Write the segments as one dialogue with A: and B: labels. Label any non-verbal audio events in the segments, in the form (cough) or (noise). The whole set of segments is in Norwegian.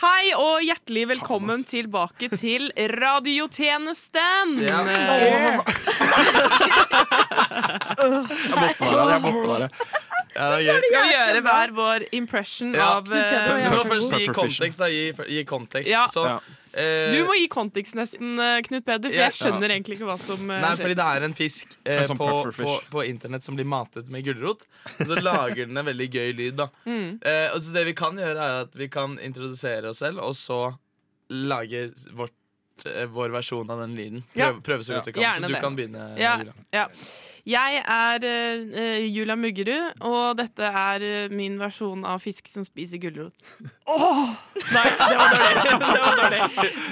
A: Hei og hjertelig velkommen tilbake til radiotjenesten.
B: (laughs) Ja.
A: Eh,
B: Jeg måtte være det. Jeg måtte være det. Ja, det er gøy.
A: Skal vi gjøre hver vår impression
B: Ja.
A: av eh,
B: Men nå først gi
C: Perfect
B: kontekst, da. Gi, gi kontekst.
A: Ja.
B: Så,
C: Ja.
B: eh,
A: Du må gi kontekst nesten, eh, Knut Peder, for
B: Ja.
A: jeg skjønner egentlig ikke hva som eh,
B: Nei, fordi
A: skjer.
B: det er en fisk eh,
C: En sånn
B: på, på,
C: pufferfish.
B: på internett som blir matet med gulrot. Og så lager den en veldig gøy lyd. da
A: Mm.
B: eh, Og så Det vi kan gjøre, er at vi kan introdusere oss selv, og så lage vårt, eh, vår versjon av den lyden.
A: Ja.
B: Prøve, prøve så godt
C: Ja.
B: du kan.
A: Gjerne
B: Så du
A: det.
B: kan begynne.
A: Ja,
B: Julia.
A: ja. Jeg er eh, eh, Julia Muggerud, og dette er eh, min versjon av fisk som spiser gulrot. (laughs) Åh! Nei, det var dårlig. Det var dårlig.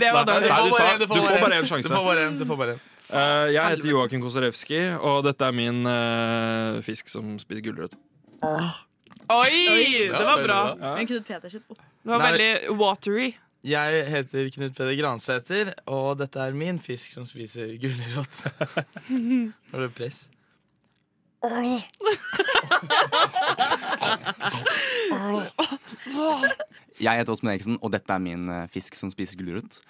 A: Det var
B: Nei,
A: dårlig.
B: du
C: Nei,
B: får
C: du
B: bare
C: tar-
B: en,
C: du
B: du får
C: får
B: bare
C: bare
B: en
C: en sjanse.
B: Du får bare en, du får bare en.
C: Eh, jeg heter Joakim Kosarewski, og dette er min eh, fisk som spiser gulrøtt.
A: Oi, det var bra.
D: Men Knut Petersen oh.
A: Det var
B: Nei.
A: veldig watery.
B: Jeg heter Knut Peder Gransæter, og dette er min fisk som spiser
D: (laughs)
B: gulrot. Har du press?
E: Jeg heter Åsmund Eriksen, og dette er min eh, fisk som spiser gulrot.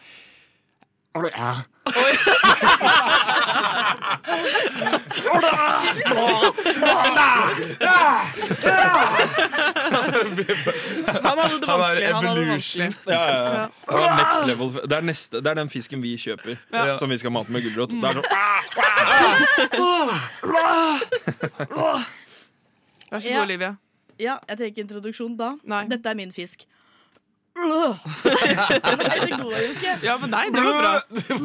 A: Han hadde det
B: Han er
A: vanskelig. Han hadde det
B: evolution.
A: vanskelig.
C: Ja, ja, ja. Det er next level. Det er, neste, det er den fisken vi kjøper,
B: Ja.
C: som vi skal mate med gulrot. Det er sånn
A: Vær så
D: Ja.
A: god, Olivia.
D: Ja, jeg trenger ikke introduksjon da.
A: Nei.
D: Dette er min fisk. (laughs) Nei, det går jo ikke.
A: Ja, men nei, det var bra.
D: Jeg begynner.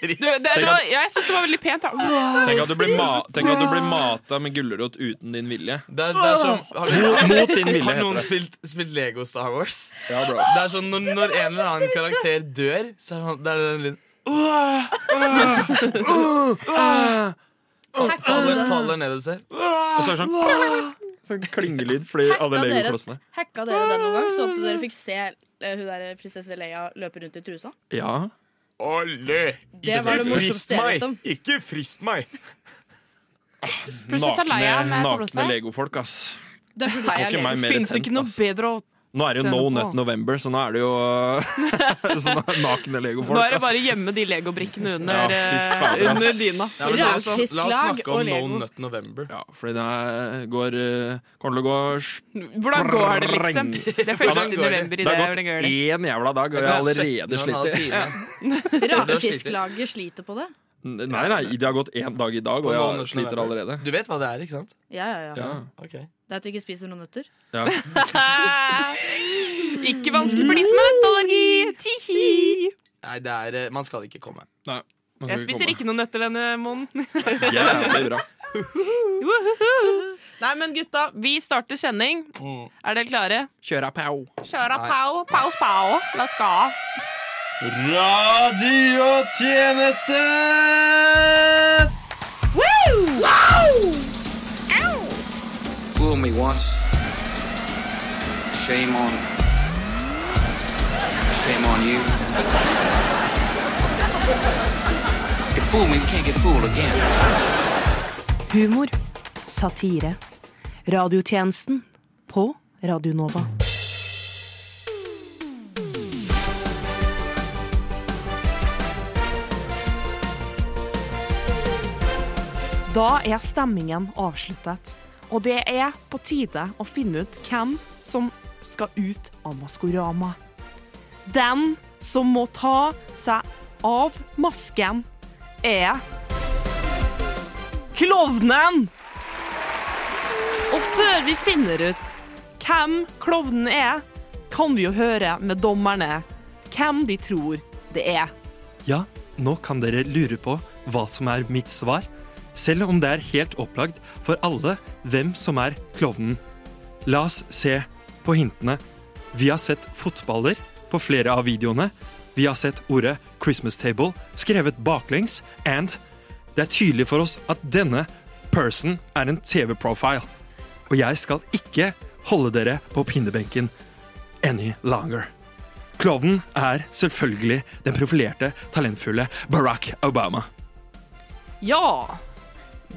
A: Du, det, det var, jeg syns det var veldig pent. Da.
C: Tenk at du blir, ma tenk at du blir mata med gulrot uten din vilje.
B: Det er, det er som, har, du,
C: Mot din vilje,
B: har noen
C: heter det.
B: spilt, spilt Lego Star Wars?
C: Ja, bra.
B: Det er sånn, når, når en eller annen karakter dør, så er han, det er den lyden faller, faller ned hos seg.
C: Og så er det sånn, sånn klingelyd fordi alle
D: Hacka dere,
C: legoklossene
D: hacka dere den noen gang, så at dere fikk se eh, hun der prinsesse Leia løpe rundt i trusa?
C: Ja.
D: Det var det morsomste jeg visste om.
B: Ikke frist meg!
A: Plutselig tar
C: Nakne,
A: leia med
C: nakne
A: tabletter.
C: legofolk, ass.
D: Det er så
C: Får ikke
D: lei
C: meg
D: av
C: mer
A: Fins
C: tent,
A: ikke noe
C: ass.
A: bedre å
C: Nå er det jo No Nut November, så nå er det jo (laughs) sånn nakne legofolk.
A: Nå er det
C: ass.
A: bare å gjemme de legobrikkene
C: Ja,
A: under,
C: fy
A: eh,
C: faen, ass.
A: under dyna.
B: Ja, men la, oss, la oss
D: Rakfisklag
B: snakke om
D: og Lego.
B: No Nut November.
C: Ja, fordi det er- går eh, Kommer til å gå sj-
A: Hvordan går det, liksom? Det er
B: Hvordan
A: første
B: går det?
A: november i
C: Det
A: det.
C: har
A: hvordan går
C: gått
A: det?
C: én jævla dag, og jeg har allerede slitt. i-
D: Rakefisklaget sliter på det.
C: Nei, nei, det har gått én dag i dag, og
B: På No
C: jeg
B: Nut
C: sliter
B: November.
C: allerede.
B: Du vet hva det er, ikke sant?
D: Ja, ja, ja.
C: Ja.
B: Ok
D: Det er at du ikke spiser noen nøtter.
C: Ja.
A: Ikke vanskelig for de som har nøtteallergi! Tihi.
B: Nei, det er, eh, man skal ikke komme.
C: Nei, nå skal
A: Jeg
C: vi
A: spiser
C: komme.
A: ikke noen nøtter denne måneden.
C: Jævlig bra.
A: Woohoo! Nei, men gutta, vi starter sending. Er dere klare?
C: Kjøra pau.
A: Kjøra pau, paus pau. La oss gå.
C: Radiotjeneste!
E: Fool me once. Shame on Shame on you. If fool me, can't get fooled again.
F: Humor. Satire. Radiotjenesten på Radio Nova. Da er stemmingen avsluttet, og det er på tide å finne ut hvem som skal ut av Maskorama. Den som må ta seg av masken, er klovnen! Og før vi finner ut hvem klovnen er, kan vi jo høre med dommerne hvem de tror det er.
G: Ja, nå kan dere lure på hva som er mitt svar, selv om det er helt opplagt for alle hvem som er klovnen. La oss se på hintene. Vi har sett fotballer på flere av videoene. Vi har sett ordet 'Christmas table' skrevet baklengs, and det er tydelig for oss at denne person er en TV-profile. Og jeg skal ikke holde dere på pinnebenken any longer. Klovnen er selvfølgelig den profilerte, talentfulle Barack Obama.
A: Ja,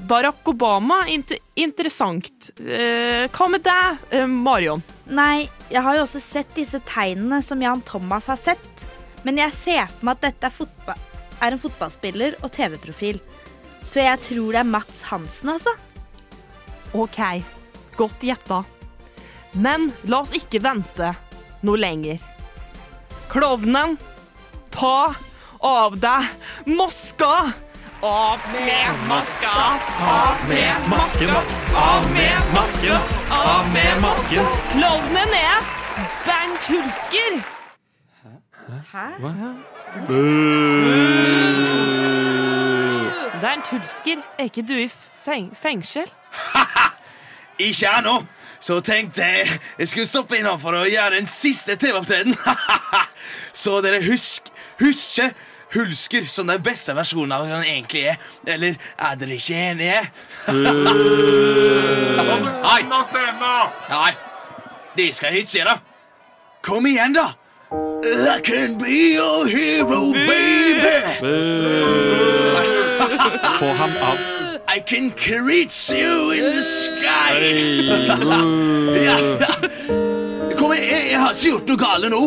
A: Barack Obama, inter interessant. Eh, hva med deg, eh, Marion?
D: Nei, jeg har jo også sett disse tegnene som Jan Thomas har sett. Men jeg ser for meg at dette er, fotba er en fotballspiller og TV-profil. Så jeg tror det er Mats Hansen, altså.
A: OK, godt gjetta. Men la oss ikke vente noe lenger. Klovnen, ta av deg maska! Av med maska! Av med
G: Masken, av med masken, av med masken.
A: Klovnen er Bernt Hulsker!
D: Hæ?
A: Bernt Hulsker, er ikke du i feng fengsel?
H: Ikke ennå. Så tenkte jeg jeg skulle stoppe innom for å gjøre en siste TV-opptreden. (laughs) Så dere husk, husker Hulsker som den beste versjonen av hva han egentlig er. Eller er dere ikke enige? Nei. Nei. Det skal jeg ikke gjøre. Kom igjen, da. I can be your hero, baby.
G: Få ham av.
H: I can reach you in the sky. (laughs) Ja. Kom igjen, jeg, jeg har ikke gjort noe galt nå.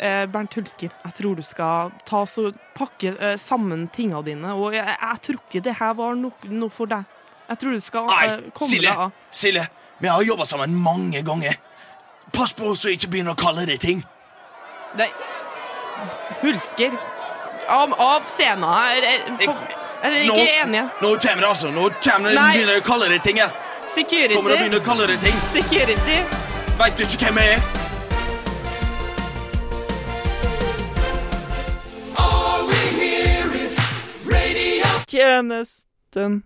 A: Eh, Bernt Hulsker, jeg tror du skal ta så pakke eh, sammen tinga dine. Og jeg, jeg tror ikke det her var no- noe for deg. Jeg tror du skal eh,
H: Nei,
A: komme
H: Silje,
A: deg av.
H: Silje, vi har jobba sammen mange ganger. Pass på så jeg ikke begynner å kalle det ting.
A: Nei. Hulsker. Av, av scenen her. Er, er,
H: Jeg-
A: er dere
H: Nå-
A: ikke enige?
H: Nå kommer det, altså. Nå kommer det,
A: Nei.
H: begynner jeg å kalle det ting. jeg. Kommer det å
A: Security.
H: begynne å kalle det ting.
A: Security.
H: Veit du ikke hvem jeg er?
I: Tjenesten.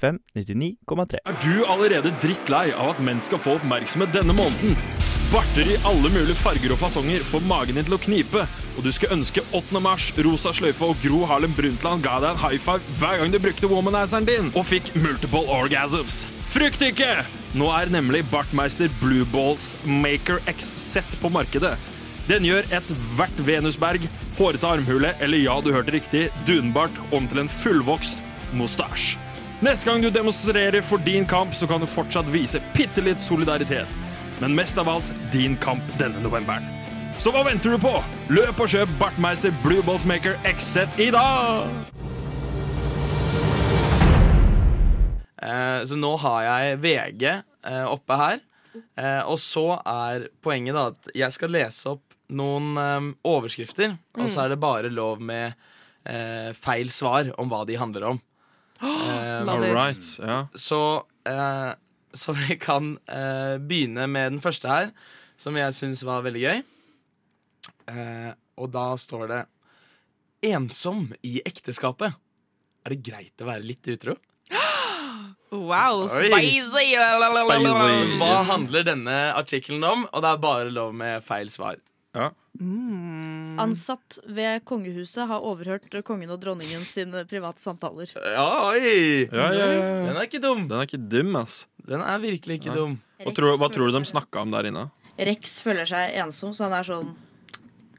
I: FM 99,3.
G: Er du allerede drittlei av at menn skal få oppmerksomhet denne måneden? Barter i alle mulige farger og fasonger får magen din til å knipe, og du skulle ønske 8. mars, Rosa sløyfe og Gro Harlem Brundtland ga deg en high five hver gang du brukte womanizeren din og fikk multiple orgasms. Frykt ikke! Nå er nemlig Bartmeister Blue Balls Maker X Set på markedet. Den gjør ethvert venusberg, hårete armhule eller ja, du hørte riktig, dunbart om til en fullvokst mustasj. Neste gang du demonstrerer for din kamp, så kan du fortsatt vise bitte litt solidaritet. Men mest av alt din kamp denne novemberen. Så hva venter du på? Løp og kjøp Bartmeister Blue Balls Maker X-Set i dag!
B: Eh, så nå har jeg VG eh, oppe her. Eh, og så er poenget da at jeg skal lese opp noen eh, overskrifter, og så er det bare lov med eh, feil svar om hva de handler om. Eh,
J: Love it.
C: ja.
B: så, eh, så (laughs) vi kan eh, begynne med den første her, som jeg syns var veldig gøy. Eh, og da står det 'Ensom i ekteskapet'. Er det greit å være litt utro?
J: Wow,
B: Oi.
J: spicy!
C: Spicy.
B: Hva
C: Yes.
B: handler denne artikkelen om? Og det er bare lov med feil svar.
K: Mm. Ansatt ved kongehuset har overhørt kongen og dronningen sine private samtaler.
B: Ja, oi!
C: Ja, ja, ja.
B: Den er ikke dum.
C: Den er ikke dum, ass.
B: Den er virkelig ikke
C: Nei.
B: dum.
C: Hva tror, hva tror du de snakka om der inne?
K: Rex føler seg ensom, så han er sånn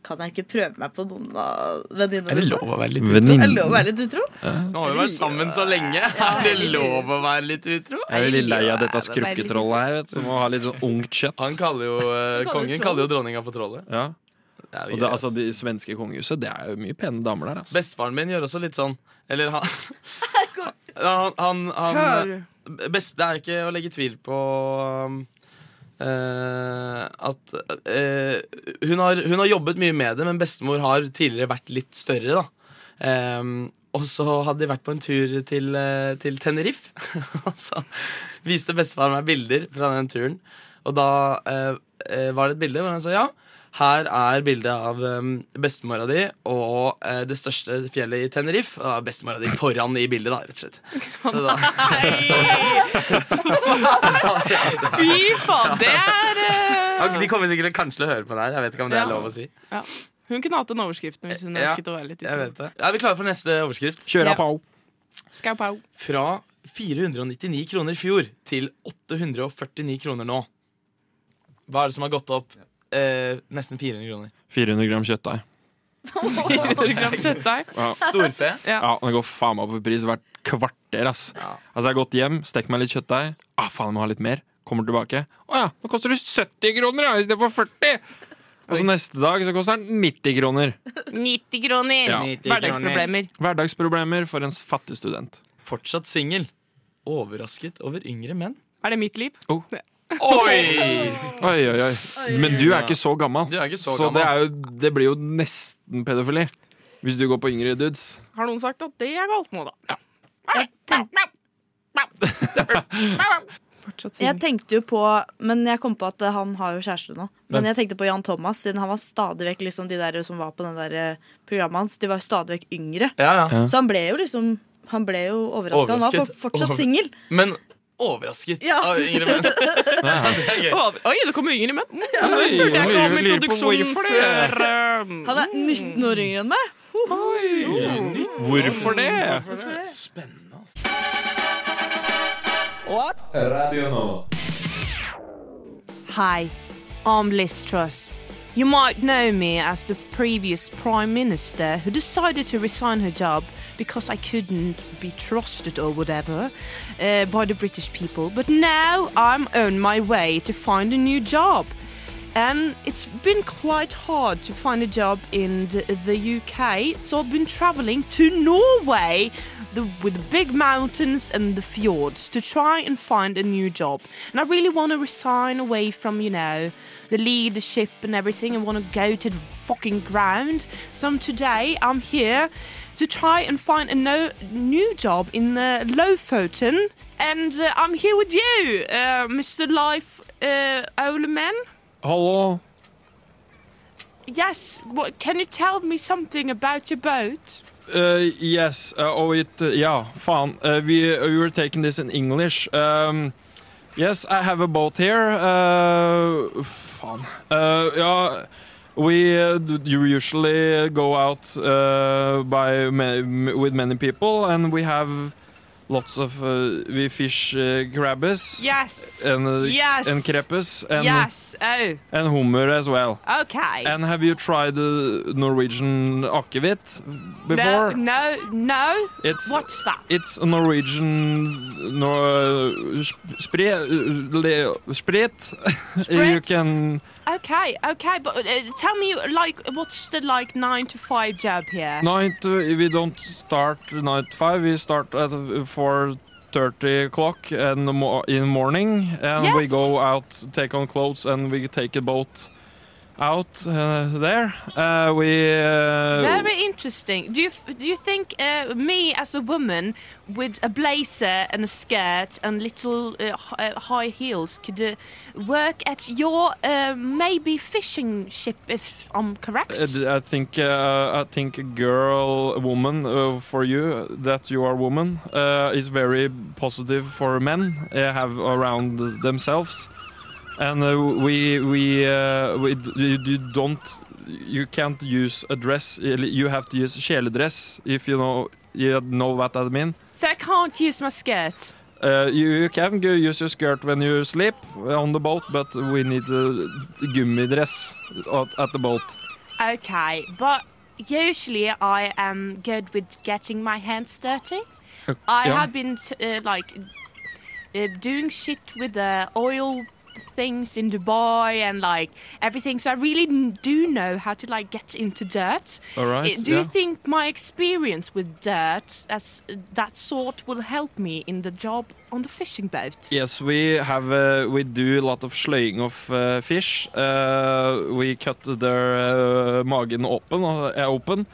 K: Kan jeg ikke prøve meg på noen av venninnene?
B: å være litt
K: Er det
C: Venninne.
K: lov å være litt utro?
B: Nå har vi vært sammen så lenge. Er det lov å være litt utro?
C: Jeg er veldig lei av dette skrukketrollet her, vet, du, som må ha litt sånn ungt kjøtt.
B: Han kaller jo, eh,
K: kaller
B: kongen
K: troll.
B: kaller jo dronninga for trollet.
C: Ja.
B: Det er jo
C: Og det,
B: gøy,
C: altså,
B: ass.
C: det svenske kongehuset, det er jo mye pene damer der, ass.
B: Bestefaren min gjør også litt sånn. Eller han Han, han, han best, Det er ikke å legge tvil på um, eh, at eh, hun, har, hun har jobbet mye med det, men bestemor har tidligere vært litt større, da. Ehm, og så hadde de vært på en tur til, eh, til Tenerife. (laughs) og så viste bestefar meg bilder fra den turen. Og da eh, eh, var det et bilde hvor han sa ja. Her er bildet av um, bestemora di og eh, det største fjellet i Tenerife. Og da er bestemora di foran i bildet, da, rett og slett. Så da,
H: (laughs)
A: Fy faen, det er eh,
B: de kommer sikkert kanskje til å høre på det her. Jeg vet ikke om det er
A: Ja.
B: lov å si.
A: Hun kunne hatt den overskriften hvis hun
B: Ja,
A: ønsket å være litt
B: Jeg
A: utro.
B: vet det. Er vi klare for neste overskrift?
C: Kjøra
A: Ja.
C: på!
A: Skau, pau.
B: Fra 499 kroner i fjor til 849 kroner nå. Hva er det som har gått opp eh, nesten 400 kroner?
C: 400 gram kjøttdeig.
J: (laughs) 400 gram kjøttdeig.
C: Ja.
B: Storfe.
J: Ja.
C: Ja, det går faen meg opp i pris hvert kvarter, ass. Altså, jeg har gått hjem, stekt meg litt kjøttdeig. Ah, faen, jeg må ha litt mer. Kommer tilbake. Å ja, nå koster det 70 kroner ja, istedenfor 40! Og så neste dag så koster den 90 kroner.
A: 90 kroner.
C: Ja.
A: Hverdagsproblemer.
C: Hverdagsproblemer for en fattig student.
B: Fortsatt singel. Overrasket over yngre menn.
J: Er det mitt liv?
B: Oi!
C: Oi, oi, oi. Men du er ikke så gammel,
B: Du er ikke så,
C: så det, er
B: gammel.
C: jo, det blir jo nesten pedofili. Hvis du går på yngre dudes.
J: Har noen sagt at det er galt nå, da? Fortsatt
K: Jeg
J: singel.
K: tenkte jo på Men jeg kom på at han har jo kjæreste nå. Men
C: Hvem?
K: jeg tenkte på Jan Thomas, siden han var stadig vekk liksom de der som var på den der eh, programmet hans. De var jo stadig vekk yngre.
B: Ja, ja.
C: Ja.
K: Så han ble jo liksom Han ble jo overraska. Han var
B: Overrasket.
K: for, fortsatt
B: Over-
K: singel.
B: Men overrasket
K: Ja.
B: av yngre menn. Det er gøy.
J: Å, Oi, det kommer yngre menn! Mm,
C: Oi,
J: Det spurte jeg ikke
C: oi,
J: om i
C: lurer på
J: produksjonen
C: hvorfor det.
J: før. um,
K: Han
A: Mm.
K: er 19 år yngre enn meg.
C: Hvorfor det?
B: Spennende. Altså.
A: Hi, I'm Liz Truss. You might know me as the previous Prime Minister who decided to resign her job because I couldn't be trusted or whatever uh, by the British people. But now I'm on my way to find a new job. And Um, it's been quite hard to find a job in the, the UK, so I've been traveling to Norway the, with the big mountains and the fjords to try and find a new job. And I really want to resign away from, you know, the leadership and everything and want to go to the fucking ground. So today I'm here to try and find a no, new job in uh, Lofoten. And uh, I'm here with you, uh, Mr. Life uh, Oleman.
C: Hallo?
A: Yes, what, can you tell me something about your boat?
C: Uh, yes. Uh, oh, it. Uh, yeah. Faen. Uh, we uh, we were taking this in English. Um, yes, I have a boat here. Uh, faen. Uh, yeah. We uh, d- you usually go out uh, by ma- m- with many people, and we have lots of uh, we fish uh, crabbes
A: Yes.
C: and uh, um,
A: Yes.
C: and crepes and
A: yes. Oh,
C: and hummer as well.
A: okay.
C: And have you tried the Norwegian akevit before?
A: No, no, no.
C: It's
A: What's that?
C: It's a Norwegian no, spre, le, sprit. You can
A: Okay, okay, but uh, tell me, like, what's the like nine to five job here?
C: nine to, we don't start nine to five. We start at four thirty o'clock and the mo- in the morning, and we
A: Yes.
C: go out, take on clothes, and we take a boat out uh, there. Uh, we uh,
A: Very interesting. Do you f- do you think uh, me as a woman with a blazer and a skirt and little uh, hi- uh, high heels could uh, work at your uh, maybe fishing ship if I'm correct?
C: Uh, d- I think uh, I think a girl, a woman uh, for you that you are woman uh, is very positive for men uh, have around themselves, and uh, we we uh, we d- you, you don't you can't use a dress. You have to use kjeledress if you know you know what I mean.
A: so I can't use my skirt.
C: Uh, you, you can go use your skirt when you sleep on the boat, but we need a gummidress at, at the boat.
A: Okay, but usually I am good with getting my hands dirty.
C: Uh,
A: I
C: yeah.
A: have been t- uh, like uh, doing shit with the oil things in Dubai and like everything. So I really n- do know how to like get into dirt.
C: All right.
A: Uh, do
C: yeah.
A: you think my experience with dirt as uh, that sort will help me in the job on the fishing boat?
C: Yes, we have uh, we do a lot of slaying of uh, fish. Uh, we cut their uh, magen open, uh, open,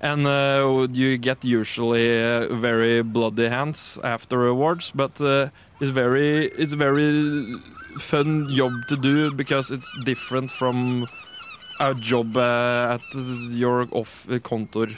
C: and uh, you get usually uh, very bloody hands afterwards. But uh, it's very it's very fun job to do because it's different from a job uh, at your off uh, kontor.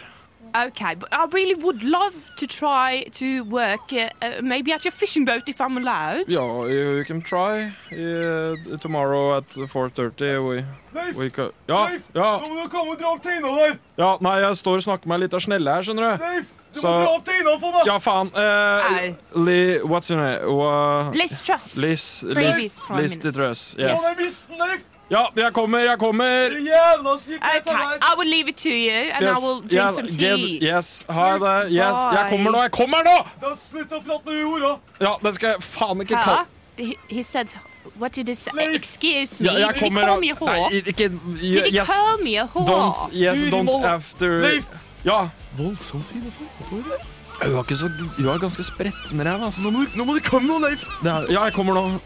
A: Okay, but I really would love to try to work uh, uh, maybe at your fishing boat if I'm allowed.
C: Yeah, you, you can try. Uh, tomorrow at 4.30 we, we ca- Ja, ja.
H: må du komme og dra opp tina der!
C: Ja, nei, jeg står og snakker med ei lita snelle her, skjønner du.
H: Leif,
C: du må Så- dra
H: opp tina på meg!
C: Ja, faen. Uh,
A: Nei.
C: Li, what's your name? Uh,
A: Liz Truss.
C: Liz, Liz,
A: Previous Prime
C: Liz
A: Minister.
C: Truss. Yes.
H: er misten, Leif!
C: Ja, Ja, jeg kommer, jeg kommer!
B: Jævla
I: Okay, I will leave it to you, and I will drink
C: yes,
I: some
C: get-
I: tea.
C: yes, ha det. Yes, jeg kommer nå! Jeg kommer nå!
B: Slutt å prate med jorda!
C: Ja, det skal jeg faen ikke
I: Huh?
C: kalle
I: He, he said, what did he say? Excuse
C: ja,
I: me, did
C: jeg
I: he
C: kommer
I: call me a
C: Nei,
I: whore?
C: ikke
I: Did he
C: Yes,
I: call me a
C: don't
I: whore?
C: Yes,
B: Guri
C: don't
B: malla.
C: after
B: Leif!
C: Ja.
B: Voldsomt fine folk.
C: Du er, ikke så, du er ganske spretten ræv, altså.
B: Nå må, du- nå må du komme nå, Leif.
C: Det er, ja, jeg kommer nå.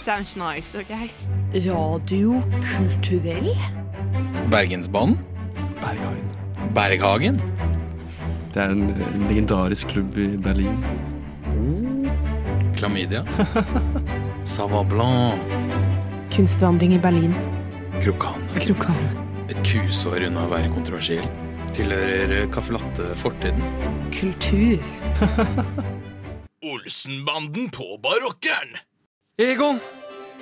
I: Sounds nice, okay?
L: Radio kulturell.
H: Bergensbanen. Berghagen. Berghagen. Det er en, en legendarisk klubb i Berlin. (laughs) Klamydia. Savant Blanc.
I: Kunstvandring i Berlin.
H: Krokan.
I: Krokan.
H: Et kusår unna å være kontroversiell. Tilhører eh, caffè latte-fortiden.
L: Kultur.
B: Olsenbanden på barokkeren.
C: Egon,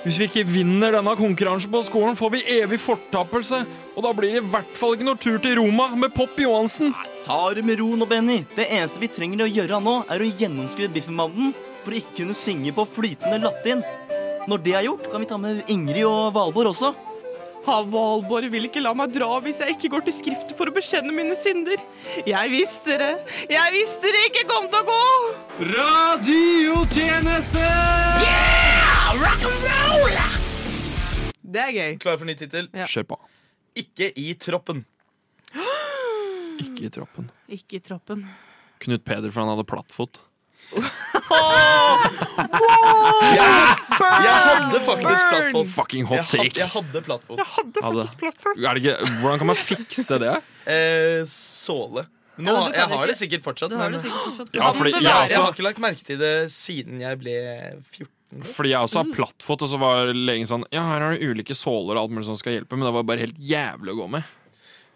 C: hvis vi ikke vinner denne konkurransen på skolen, får vi evig fortappelse. Og da blir det i hvert fall ikke noe tur til Roma med Pop Johansen.
M: Ta det med ro nå, Benny. Det eneste vi trenger å gjøre nå, er å gjennomskue Biffenbanden for å ikke kunne synge på flytende latin. Når det er gjort, kan vi ta med Ingrid og Valborg også.
A: Ha, Valborg vil ikke la meg dra hvis jeg ikke går til skriftet for å bekjenne mine synder. Jeg visste det. Jeg visste det ikke kom til å gå.
B: Radiotjeneste! Yeah! Rock and roll!
A: Det er gøy.
B: Klar for ny tittel?
C: Kjør på.
B: Ikke i troppen.
C: Ikke i troppen.
A: Ikke i troppen.
C: Knut Peder, for han hadde plattfot.
B: Jeg
A: Ah,
B: hadde faktisk plattfot.
C: Fucking hot
B: Jeg hadde,
C: take.
B: jeg hadde plattfot.
C: Hadde. Er det ikke, hvordan kan man fikse det?
B: Eh, såle. Nå,
A: Ja, men du
B: jeg
A: kan
B: har
A: ikke-
B: det sikkert fortsatt.
A: Du har
B: men-
A: det sikkert fortsatt.
C: Ja, fordi
B: jeg,
C: jeg også-
B: har ikke lagt merke til det siden jeg ble 14.
C: Fordi jeg
A: Mm.
C: også har plattfot, og så var legen sånn Ja, her har du ulike såler og alt mulig som skal hjelpe, men det var bare helt jævlig å gå med.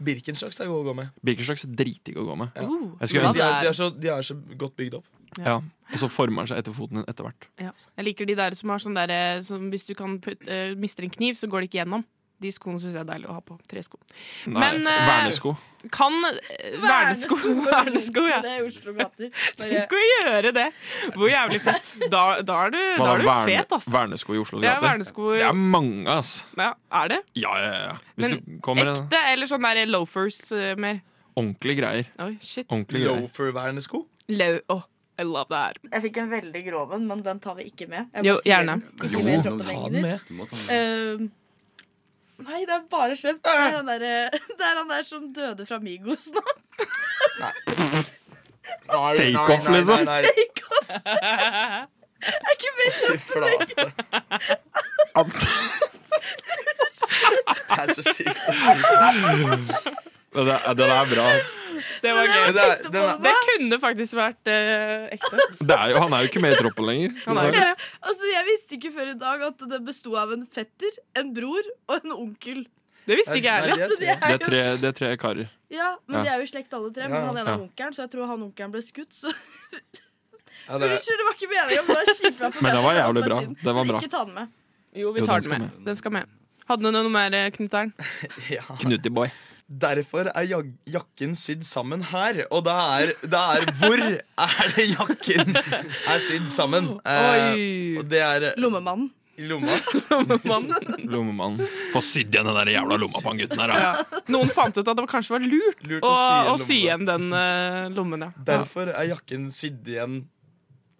B: Birkenstocks er god å gå med.
C: Birkenstocks er dritdigg å gå med.
B: Ja.
I: Uh,
C: Jeg
B: Men
C: skulle
B: de, er, de,
C: ønske
B: er så, de er så godt bygd opp.
C: ja. Og så former den seg etter foten din etter hvert.
A: Ja. Jeg liker de der som har sånn derre som hvis du kan putt, eh, mister en kniv, så går det ikke gjennom. De skoene syns jeg er deilig å ha på. Tresko.
C: Nei,
A: eh,
C: vernesko.
A: Kan eh, (laughs) Vernesko. Vernesko, ja.
D: Det er Oslo-gater.
K: (laughs)
D: Bare-
A: Tenk å gjøre det! Hvor jævlig fett. Da, da er du, da
C: Hva
A: er
C: da,
A: du
C: verne-
A: fet, ass.
C: Vernesko i Oslo?
A: Det er
C: gater?
A: vernesko i-
C: Det er mange, ass.
A: Ja, er det?
C: Ja, ja, ja.
A: Men
C: Hvis det kommer en
A: Ekte eller sånn der loafers eh, mer?
C: ordentlig greier.
A: Oi, shit.
C: Ordentlig greier.
B: Loafer-vernesko.
A: Lau. Oh, I love that.
D: Jeg fikk en veldig grov en, men den tar vi ikke med. Jeg
A: Jo,
D: bare sier
A: gjerne.
D: den. Ikke
B: Jo,
D: med i
B: ta den
D: troppen lenger.
B: med.
N: Du må ta den
D: Ehm, nei, det er bare slemt. Det er han der,
K: (laughs)
D: eh, det er han der som døde fra Migos nå.
B: Nei,
C: Take
B: nei,
C: off,
B: nei,
C: liksom.
B: nei, nei.
D: Take off. Jeg er ikke med i troppen
B: (laughs)
D: lenger.
B: Det er så sykt.
C: Det, det der er bra.
A: Det var gøy.
B: Men det er- den er-
A: Det kunne faktisk vært eh, ekte.
C: Det er jo, han er jo ikke med i troppen lenger.
A: (laughs) Han er ikke det.
D: Altså, jeg visste ikke før i dag at det besto av en fetter, en bror og en
B: (laughs)
D: onkel.
A: Det visste ikke jeg
B: Nei,
A: heller.
B: det er
D: Så de
B: tre.
C: Det
D: er
C: er
D: jo,
C: tre, det er tre karer.
D: ja, men
C: Ja.
D: de er jo i slekt alle tre.
B: Ja,
D: Men han ene
C: ja.
D: er onkelen, så jeg tror han onkelen ble skutt. Så
B: Ja, det er-
D: unnskyld, det var ikke meningen. men det er skitbra
C: (laughs)
D: på
C: Men det
D: meg,
C: var
D: så jeg
C: jævlig
D: tar
C: bra.
D: den.
C: Det var bra.
D: Ikke ta den med.
A: Jo, vi
C: Jo,
A: tar
C: den skal
A: den med. Den skal med. Hadde du noe mer, eh, Knut Ern?
B: ja.
C: Knutiboy.
B: Derfor er jag jakken sydd sammen her. Og da er, da er Hvor er det jakken er sydd sammen? Eh,
A: Oi.
C: Eh,
B: og det er
D: Lommemannen.
B: i lomma.
C: Lommemannen. Få sydd igjen den der jævla lomma på han gutten her, da.
A: Ja. Noen fant ut at det kanskje var lurt,
B: Lurt å
A: å, å
B: sy
A: sy igjen
B: igjen
A: den eh, lommen, ja.
B: Derfor er jakken sydd igjen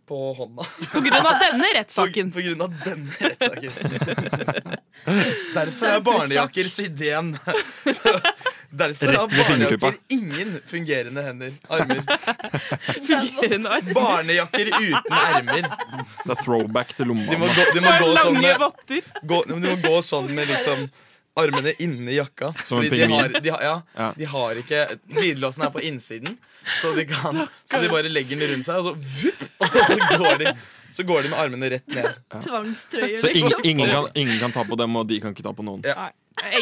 B: på hånda.
A: På grunn av denne
B: På,
C: (laughs)
A: rettssaken. (laughs)
B: på grunn av (laughs) denne rettssaken. Derfor er barnejakker sydd igjen. (laughs) Derfor har
C: Rett ved fingertuppa.
B: barnejakker ingen fungerende hender. Armer.
A: Fungerende arm.
B: Barnejakker uten ermer.
C: Det er throwback til
B: De må
C: lommemannen.
B: gå, de må gå sånn
A: Lange
B: med
A: votter.
B: gå, ja, men du må gå sånn med liksom armene inni jakka.
C: Som en
B: Fordi
C: pingvin.
B: De har, de har, ja,
C: Ja.
B: de har ikke Glidelåsen er på innsiden, så de, kan, så de bare legger den rundt seg, og så, vupp, (laughs) og så, går, de, så går de med armene rett ned.
D: sånn Tvangstrøye,
C: Så ingen,
D: liksom.
C: ingen, kan, ingen kan ta på dem, og de kan ikke ta på noen.
B: Ja.
A: Nei.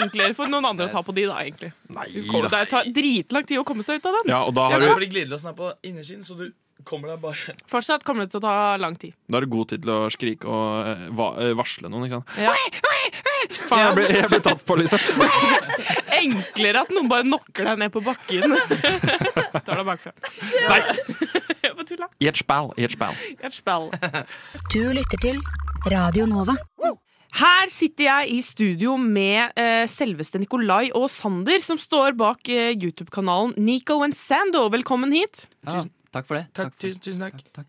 A: Enklere for noen andre å ta på de, da, egentlig.
C: Nei
A: Det
C: da.
A: tar dritlang tid å komme seg ut av den.
C: Ja, og da
B: Ja,
C: har
B: men
C: du,
B: fordi glidelåsen er på innersiden, så du kommer deg bare
A: Fortsatt kommer det til å ta lang tid.
C: da er du god tid til å skrike og eh, va- eh, varsle noen, ikke sant?
A: Ja.
C: Faen, jeg ble, jeg ble tatt på, liksom.
A: Enklere at noen bare knocker deg ned på bakken. (laughs) Tar deg bakfra.
C: Nei!
A: (laughs) Jeg bare tulla.
C: I et spall. I et spall.
A: Jeg er et spell.
L: Du lytter til Radio Nova.
A: Her sitter jeg i studio med eh, selveste Nikolai og Sander, som står bak eh, YouTube-kanalen Nico and Sando. Velkommen hit.
M: Ja, takk for det. Takk, tusen,
B: takk.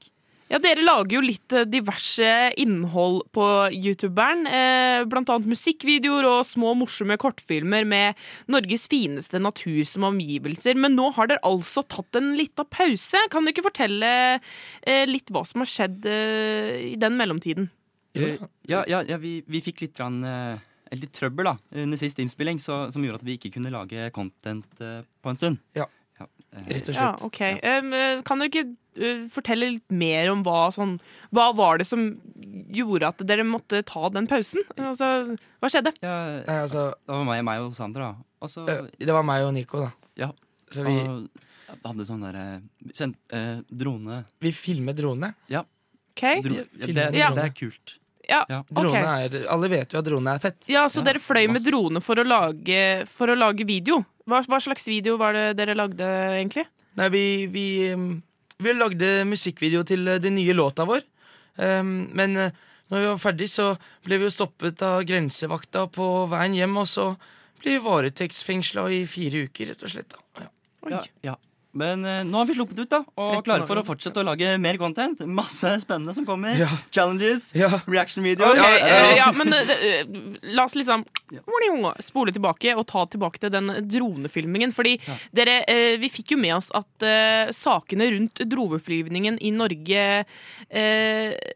A: Ja, Dere lager jo litt eh, diverse innhold på youtuberen. Eh, blant annet musikkvideoer og små morsomme kortfilmer med Norges fineste natur som omgivelser. Men nå har dere altså tatt en lita pause. Kan dere ikke fortelle eh, litt hva som har skjedd eh, i den mellomtiden?
M: Eh, Ja, ja, ja vi, vi fikk litt, grann, eh, eller litt trøbbel da, under sist innspilling, så, som gjorde at vi ikke kunne lage content eh, på en stund.
B: Ja,
M: eh,
A: Ja, ok. Um, eh, kan dere ikke eh, fortelle litt mer om hva, sånn, hva var det som gjorde at dere måtte ta den pausen? Altså, hva skjedde?
M: Nei, altså, det var meg, meg og Sander, da. Og så,
B: Eh, Det var meg og Nico, da.
M: ja,
B: så vi-
M: og hadde sånn der eh, kjent, eh, drone.
B: Vi filmer drone.
M: Ja.
A: Ok.
M: Dro, ja,
B: Filmer
M: det, er-
B: drone.
M: det er kult.
A: Ja,
M: Ja.
A: ok.
B: Drone er, alle vet jo at drone er fett.
A: Ja, så dere fløy med drone for å lage, for å lage video. Hva, hva slags video var det dere lagde, egentlig?
B: Nei, vi, vi, um, vi lagde musikkvideo til uh, den nye låta vår. Um, men uh, når vi var ferdig, så ble vi jo stoppet av grensevakta på veien hjem. Og så ble vi varetektsfengsla i fire uker, rett og slett. Da.
M: Ja, ja. Men eh, nå har vi sluppet ut, da. Og
B: Tretten
M: klare for
B: år.
M: å fortsette å lage mer content. Masse spennende som kommer.
B: Ja.
M: Challenges, reaction-videoer.
A: Ok, eh, ja, men
M: eh,
A: eh, eh, la oss liksom spole tilbake og ta tilbake til den dronefilmingen. Fordi dere, eh, vi fikk jo med oss at eh, sakene rundt droneflyvningen i Norge eh,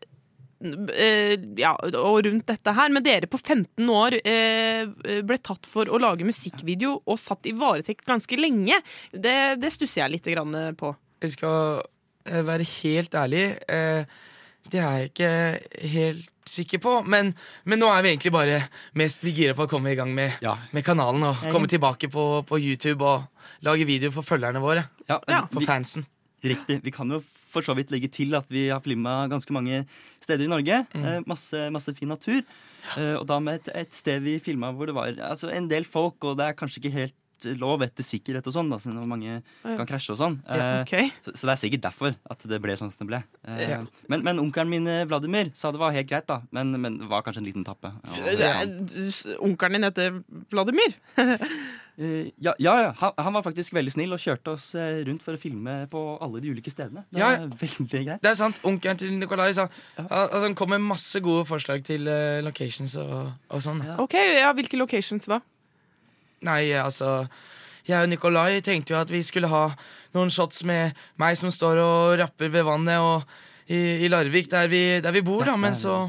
A: eh, ja, og rundt dette her, men dere på 15 år eh, ble tatt for å lage musikkvideo og satt i varetekt ganske lenge. Det, det stusser jeg litt grann eh, på.
B: Jeg skal eh, være helt ærlig. eh, Det er jeg ikke helt sikker på. Men, men nå er vi egentlig bare mest vi gira på å komme i gang med, med kanalen. Og
M: Ja, ja.
B: komme tilbake på, på YouTube og lage video for følgerne våre. For
M: vi-
B: fansen.
M: Riktig. Vi kan jo for så vidt legge til at vi har filma ganske mange steder i Norge.
B: Mm.
M: Eh, masse, masse fin natur. Eh, og da med et, et sted vi filma hvor det var altså, en del folk, og det er kanskje ikke helt lov etter sikkerhet og sånn, da, siden mange
A: Ja.
M: kan krasje og sånn.
A: Ja,
M: Eh,
A: ok.
M: så, så det er sikkert derfor at det ble sånn som det ble. Eh,
A: Ja.
M: Men, men onkelen min eh, Vladimir sa det var helt greit, da. Men, men det var kanskje en liten tappe.
A: Eh, eh, Onkelen din heter Vladimir.
M: Eh, ja, ja, ja. Han, han var faktisk veldig snill og kjørte oss eh, rundt for å filme på alle de ulike stedene. Det
B: Ja,
M: er veldig greit.
B: Det er sant. Onkelen til Nikolai sa at han kom med masse gode forslag til eh, locations og, og sånn.
A: Ok, ja, Hvilke locations da?
B: Nei, altså Jeg og Nikolai tenkte jo at vi skulle ha noen shots med meg som står og rapper ved vannet og i, i Larvik, der vi, der vi bor, da. Men så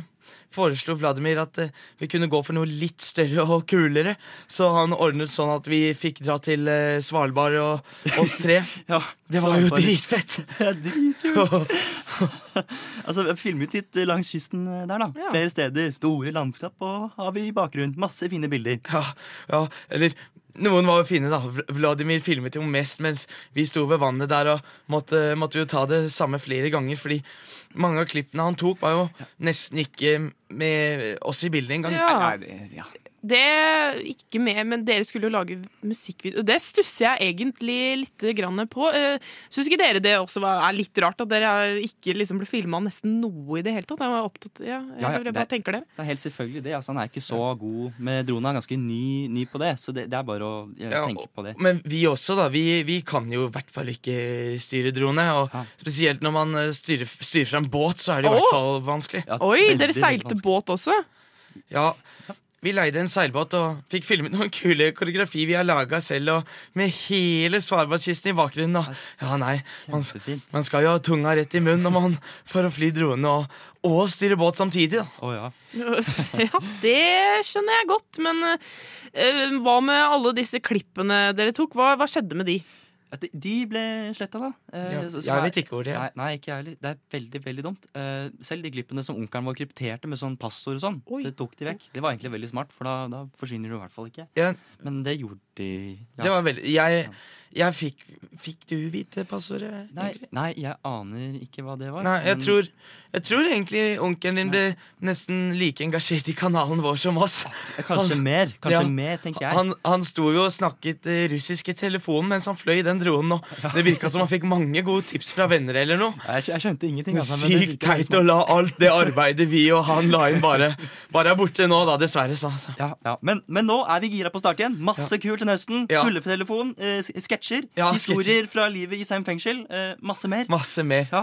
B: foreslo Vladimir at eh, vi kunne gå for noe litt større og kulere. Så han ordnet sånn at vi fikk dra til eh, Svalbard og oss tre. (laughs) det var jo
M: Svalbard. (laughs)
B: dritfett! (laughs)
M: Det er dritkult. altså, vi har filmet litt langs kysten eh, der, da.
B: Ja.
M: Flere steder, store landskap og havet i bakgrunnen. Masse fine bilder.
B: Ja, ja, eller noen var jo fine, da. Vl- Vladimir filmet jo mest mens vi sto ved vannet der og måtte, måtte jo ta det samme flere ganger, fordi mange av klippene han tok, var jo nesten ikke med oss i bildet engang.
M: eh,
A: Ja. Nei, Det ikke med, men dere skulle jo lage musikkvideo. Det stusser jeg egentlig litt grann på. Eh, Syns ikke dere det også var, er litt rart at dere ikke liksom ble filma nesten noe i det hele tatt? Jeg var opptatt, ja, jeg,
M: Ja, ja,
A: bare
M: det-
A: tenker det.
M: Det er helt selvfølgelig det. Altså, han er ikke så god med drone. Han er ganske ny, ny på det, så det, det er bare å ja,
B: Ja,
M: tenke på det.
B: Men vi også, da. Vi, vi kan jo i hvert fall ikke styre drone. Og spesielt når man eh, styrer, styrer fra en båt, så er det i hvert
A: Å!
B: fall vanskelig.
A: Oi, dere seilte båt også? (laughs)
B: Ja, vi leide en seilbåt og fikk filmet noen kule koreografi vi har laga selv, og med hele Svalbardkysten i bakgrunnen. Og ja, nei, man, man skal jo ha tunga rett i munnen når man for å fly drone og, og styre båt samtidig. Da.
A: Ja, det skjønner jeg godt, men eh, hva med alle disse klippene dere tok? Hva, hva skjedde med de?
M: At de- De ble sletta, da. Eh,
B: Ja,
M: så- som
B: jeg
M: er-
B: vet ikke hvor de er.
M: Nei, nei, ikke jeg heller. Det er veldig veldig dumt. Eh, selv de klippene som onkelen vår krypterte med sånn passord og sånn, det tok de vekk. Det var egentlig veldig smart, for da, da forsvinner du i hvert fall ikke.
B: Ja.
M: Men det gjorde de. ja.
B: Det var veldig, jeg, Jeg fikk Fikk du vite passordet?
M: Nei, nei, jeg aner ikke hva det var.
B: Nei, jeg
M: men-
B: tror, jeg tror egentlig onkelen din ble nesten like engasjert i kanalen vår som
M: (laughs)
B: oss.
M: Kanskje mer, kanskje mer, tenker jeg.
B: Han, han sto jo og snakket eh, russisk i telefonen mens han fløy den dronen, og det virka som han fikk mange gode tips fra venner eller noe.
M: Jeg, skjønte ingenting. altså, men det
B: Sykt
M: virker veldig
B: teit å la alt det arbeidet vi og han la inn, bare, bare er borte nå, da, dessverre. Så, så.
M: Ja, ja. Men, men nå er vi gira på start igjen. Masse kult til høsten.
B: Ja.
M: Tulletelefon, eh, s- sketsjer,
B: Ja,
M: historier fra livet i Seim fengsel. Eh, masse mer.
B: Masse mer.
M: Ja.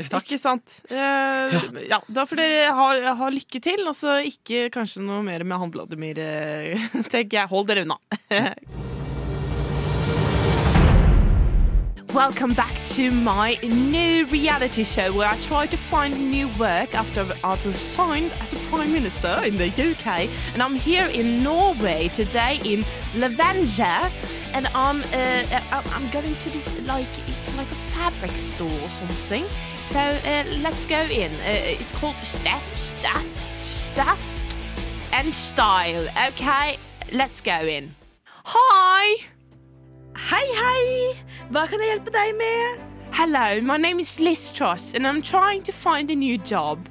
J: Ikke sant. Eh, ja, da får dere ha, ha lykke til, og så ikke kanskje noe mer med han Vladimir, eh, (laughs) tenker jeg. Hold dere unna.
A: Welcome back to my new reality show where I try to find new work after I've resigned as a Prime Minister in the UK. And I'm here in Norway today in Levanger. And I'm, uh, uh, I'm going to this, like, it's like a fabric store or something. So uh, let's go in. Uh, it's called Staff, Staff, Staff and Style. Okay, let's go in. Hi!
D: Hei, hei! Hva kan jeg hjelpe deg med?
A: Hello, my name is Liz Truss, and I'm trying to find a new job.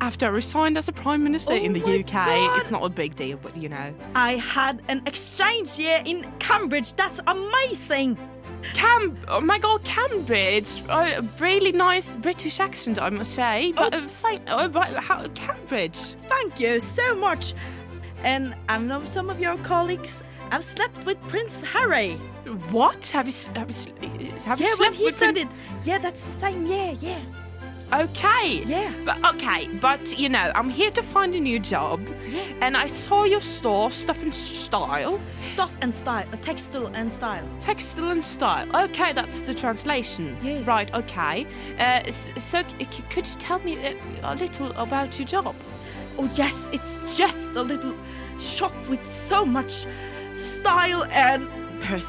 A: After I resigned as a Prime Minister in
D: Oh
A: the UK, it's not a big deal, but you know.
D: I had an exchange year in Cambridge. That's amazing!
A: Cam, oh my god, Cambridge! Uh, really nice British accent, I must say. But, uh, thank, oh, but how, Cambridge?
D: Thank you so much. And I know some of your colleagues. I've slept with Prince Harry.
A: What? Have you, s- have you, s- have you
D: yeah, when
A: slept
D: he
A: with Prince-
D: studied. Yeah, that's the same. Yeah, yeah.
A: Okay.
D: Yeah.
A: But okay, but you know, I'm here to find a new job, and I saw your store, Stuff and Style.
D: Stuff and Style, uh, Textile and Style.
A: Textile and Style. Okay, that's the translation. Right. Okay. Uh, s- so, c- c- could you tell me a a little about your job?
D: Oh, yes, it's just a little shop with so much style and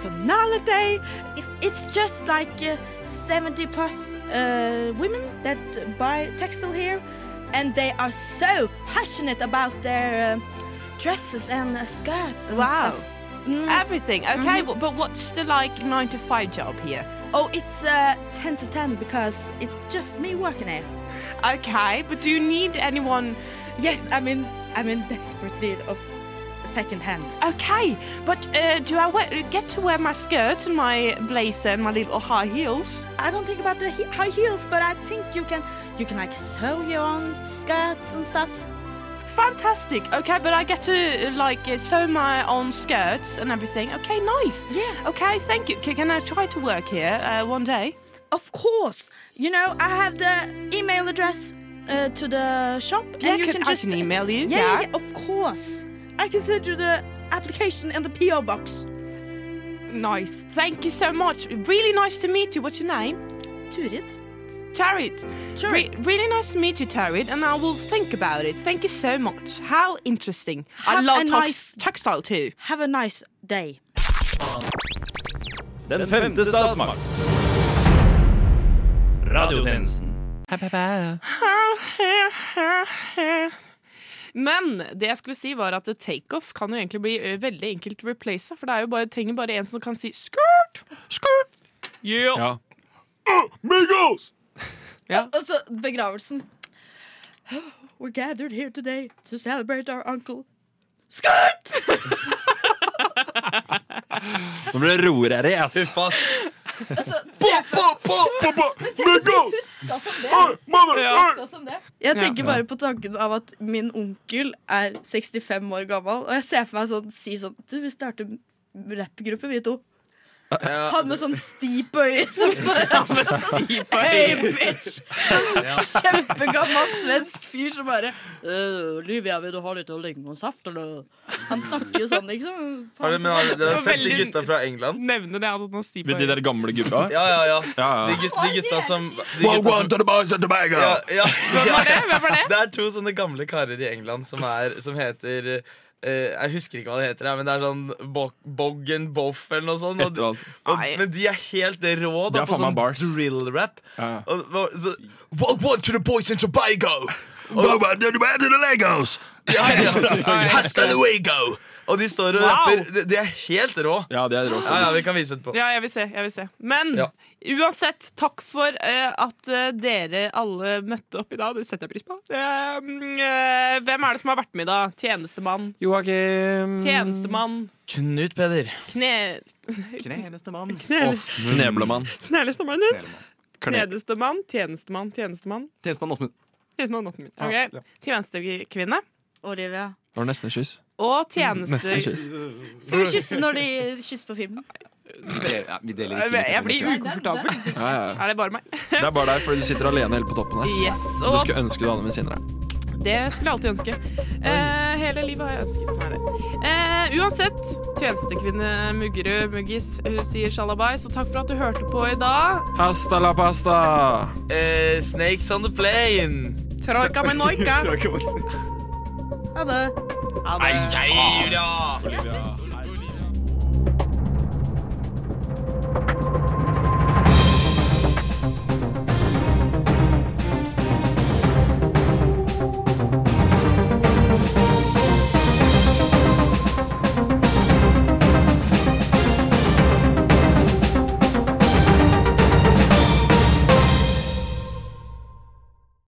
D: personality. It- It's just like uh, 70 plus uh, women that buy textile here, and they are so passionate about their um dresses and uh, skirts. And
A: Wow.
D: Stuff.
A: Everything. Okay,
D: Mhm.
A: w- but what's the like nine to five job here?
D: Oh, it's uh, 10 to 10 because it's just me working here.
A: Okay, but do you need anyone?
D: Yes, I'm in, I'm in desperate need of second hand.
A: Okay, but uh, do I wear, get to wear my skirt and my blazer and my little high heels?
D: I don't think about the he- high heels, but I think you can you can like sew your own skirts and stuff.
A: Fantastic. Okay, but I get to uh, like uh, sew my own skirts and everything. Okay, nice. Yeah. Okay, thank you. C- Can I try to work here uh, one day?
D: Of course. You know, I have the email address uh, to the shop,
A: Yeah,
D: and you
A: can-
D: can
A: I
D: just
A: can email you,
D: Yeah, yeah,
A: yeah.
D: yeah, of course. I can send you the application and the PO box.
A: Nice. Thank you so much. Really nice to meet you. What's your name?
D: Turid.
A: Turid. Sure. really nice to meet you, Turid, and I will think about it. Thank you so much. How interesting. I
D: Have
A: love
D: a
A: tex-
D: nice-
A: textile too.
D: Have a nice day.
I: Den femte statsmakt. Radiotjenesten.
J: Men det jeg skulle si var at takeoff kan jo egentlig bli ø, veldig enkelt replaced, for det er jo bare, trenger bare en som kan si skurt! Skurt! Yeah!
C: Ja.
J: Migos!
D: Og så begravelsen. We're gathered here today to celebrate our uncle. Skurt!
C: Nå blir det roere, ass.
D: Huska som det.
O: Oi, mannen,
D: Ja.
O: oi!
D: Huska som det. Jeg
O: Ja.
D: tenker
O: Ja.
D: bare på tanken av at min onkel er 65 år gammel, og jeg ser for meg sånn, si sånn Du, vi starter rappgruppe, vi to. Han med sånn stiv øye som bare Hey, bitch! Sånn Kjempegammel svensk fyr som bare «Øh, Olivia, vil du ha litt lingonsaft, eller? Han snakker jo sånn, liksom.
B: Har dere, men har dere, dere har sett de
J: Veldig-
B: gutta fra England?
J: Nevne det, han hadde noe stiv på
C: Med de der gamle gutta?
B: Ja, ja, ja.
C: (laughs) Ja, ja.
B: De, gut, de gutta som de
C: Wow,
B: gutta
C: wow,
B: som-
C: to the boys and the bag,
B: ja,
C: girl.
B: ja,
C: Hvem var det?
J: Hvem var det?
B: (laughs) Det er to sånne gamle karer i England som, er, som heter eh, jeg husker ikke hva det heter, ja, men det er sånn Bo- Bog and Boff eller noe sånt. Og, og, men de er helt rå
C: Det
B: da,
C: er
B: på
C: faen meg
B: sånn
C: bars.
B: drill-rap.
C: Ja,
B: Og, og, så, Wow, wow, to the boys in Tobago! Og,
O: Wow, wow, to the- to the Legos.
B: Hasta luego! Og de står og
A: Wow.
B: rapper. De- De er helt rå. Ja, de er rå ja, Vi kan vise etterpå.
A: Ja, jeg vil se. Jeg vil se. Men
B: Ja.
A: uansett, takk for eh, at eh, dere alle møtte opp i dag. Det setter jeg pris på. Eh, mm, eh, hvem er det som har vært med i dag? Tjenestemann.
C: Joakim.
A: Tjenestemann.
B: Knut Peder.
A: Kne...
P: Knelestemann.
A: Knelestemann.
C: Kneblemann.
A: Knelestemannen.
C: Kne-
A: Knedestemann. Tjenestemann. Tjenestemann.
Q: Tjenestemann Åsmund.
A: Tjenestemann Åttemund.
C: Ja,
A: Ok.
C: ja.
A: Tjenestekvinne.
D: Olivia.
C: Det var nesten et kyss.
A: Og tjeneste...
C: Nesten kyss.
D: Skal vi kysse når de kysser på filmen?
Q: Ja, vi deler
A: Jeg
Q: ikke
A: jeg blir
Q: mikrofonen.
A: ukomfortabel.
C: Ja, ja, ja.
A: Er det bare meg?
C: Det er bare deg, fordi du sitter alene helt på toppen her.
A: Yes,
C: Du
A: og-
C: skulle ønske du hadde en venninne der.
A: Det skulle jeg alltid ønske. Eh, hele livet har jeg ønsket meg det. Eh, uansett, tjenestekvinne Muggerud Muggis, hun sier sjalabais, og takk for at du hørte på i dag.
C: Hasta la pasta!
B: Eh, snakes on the plane.
A: Troika med noika.
B: Troika med-
D: Ha det.
A: Ha
B: Nei, Julia!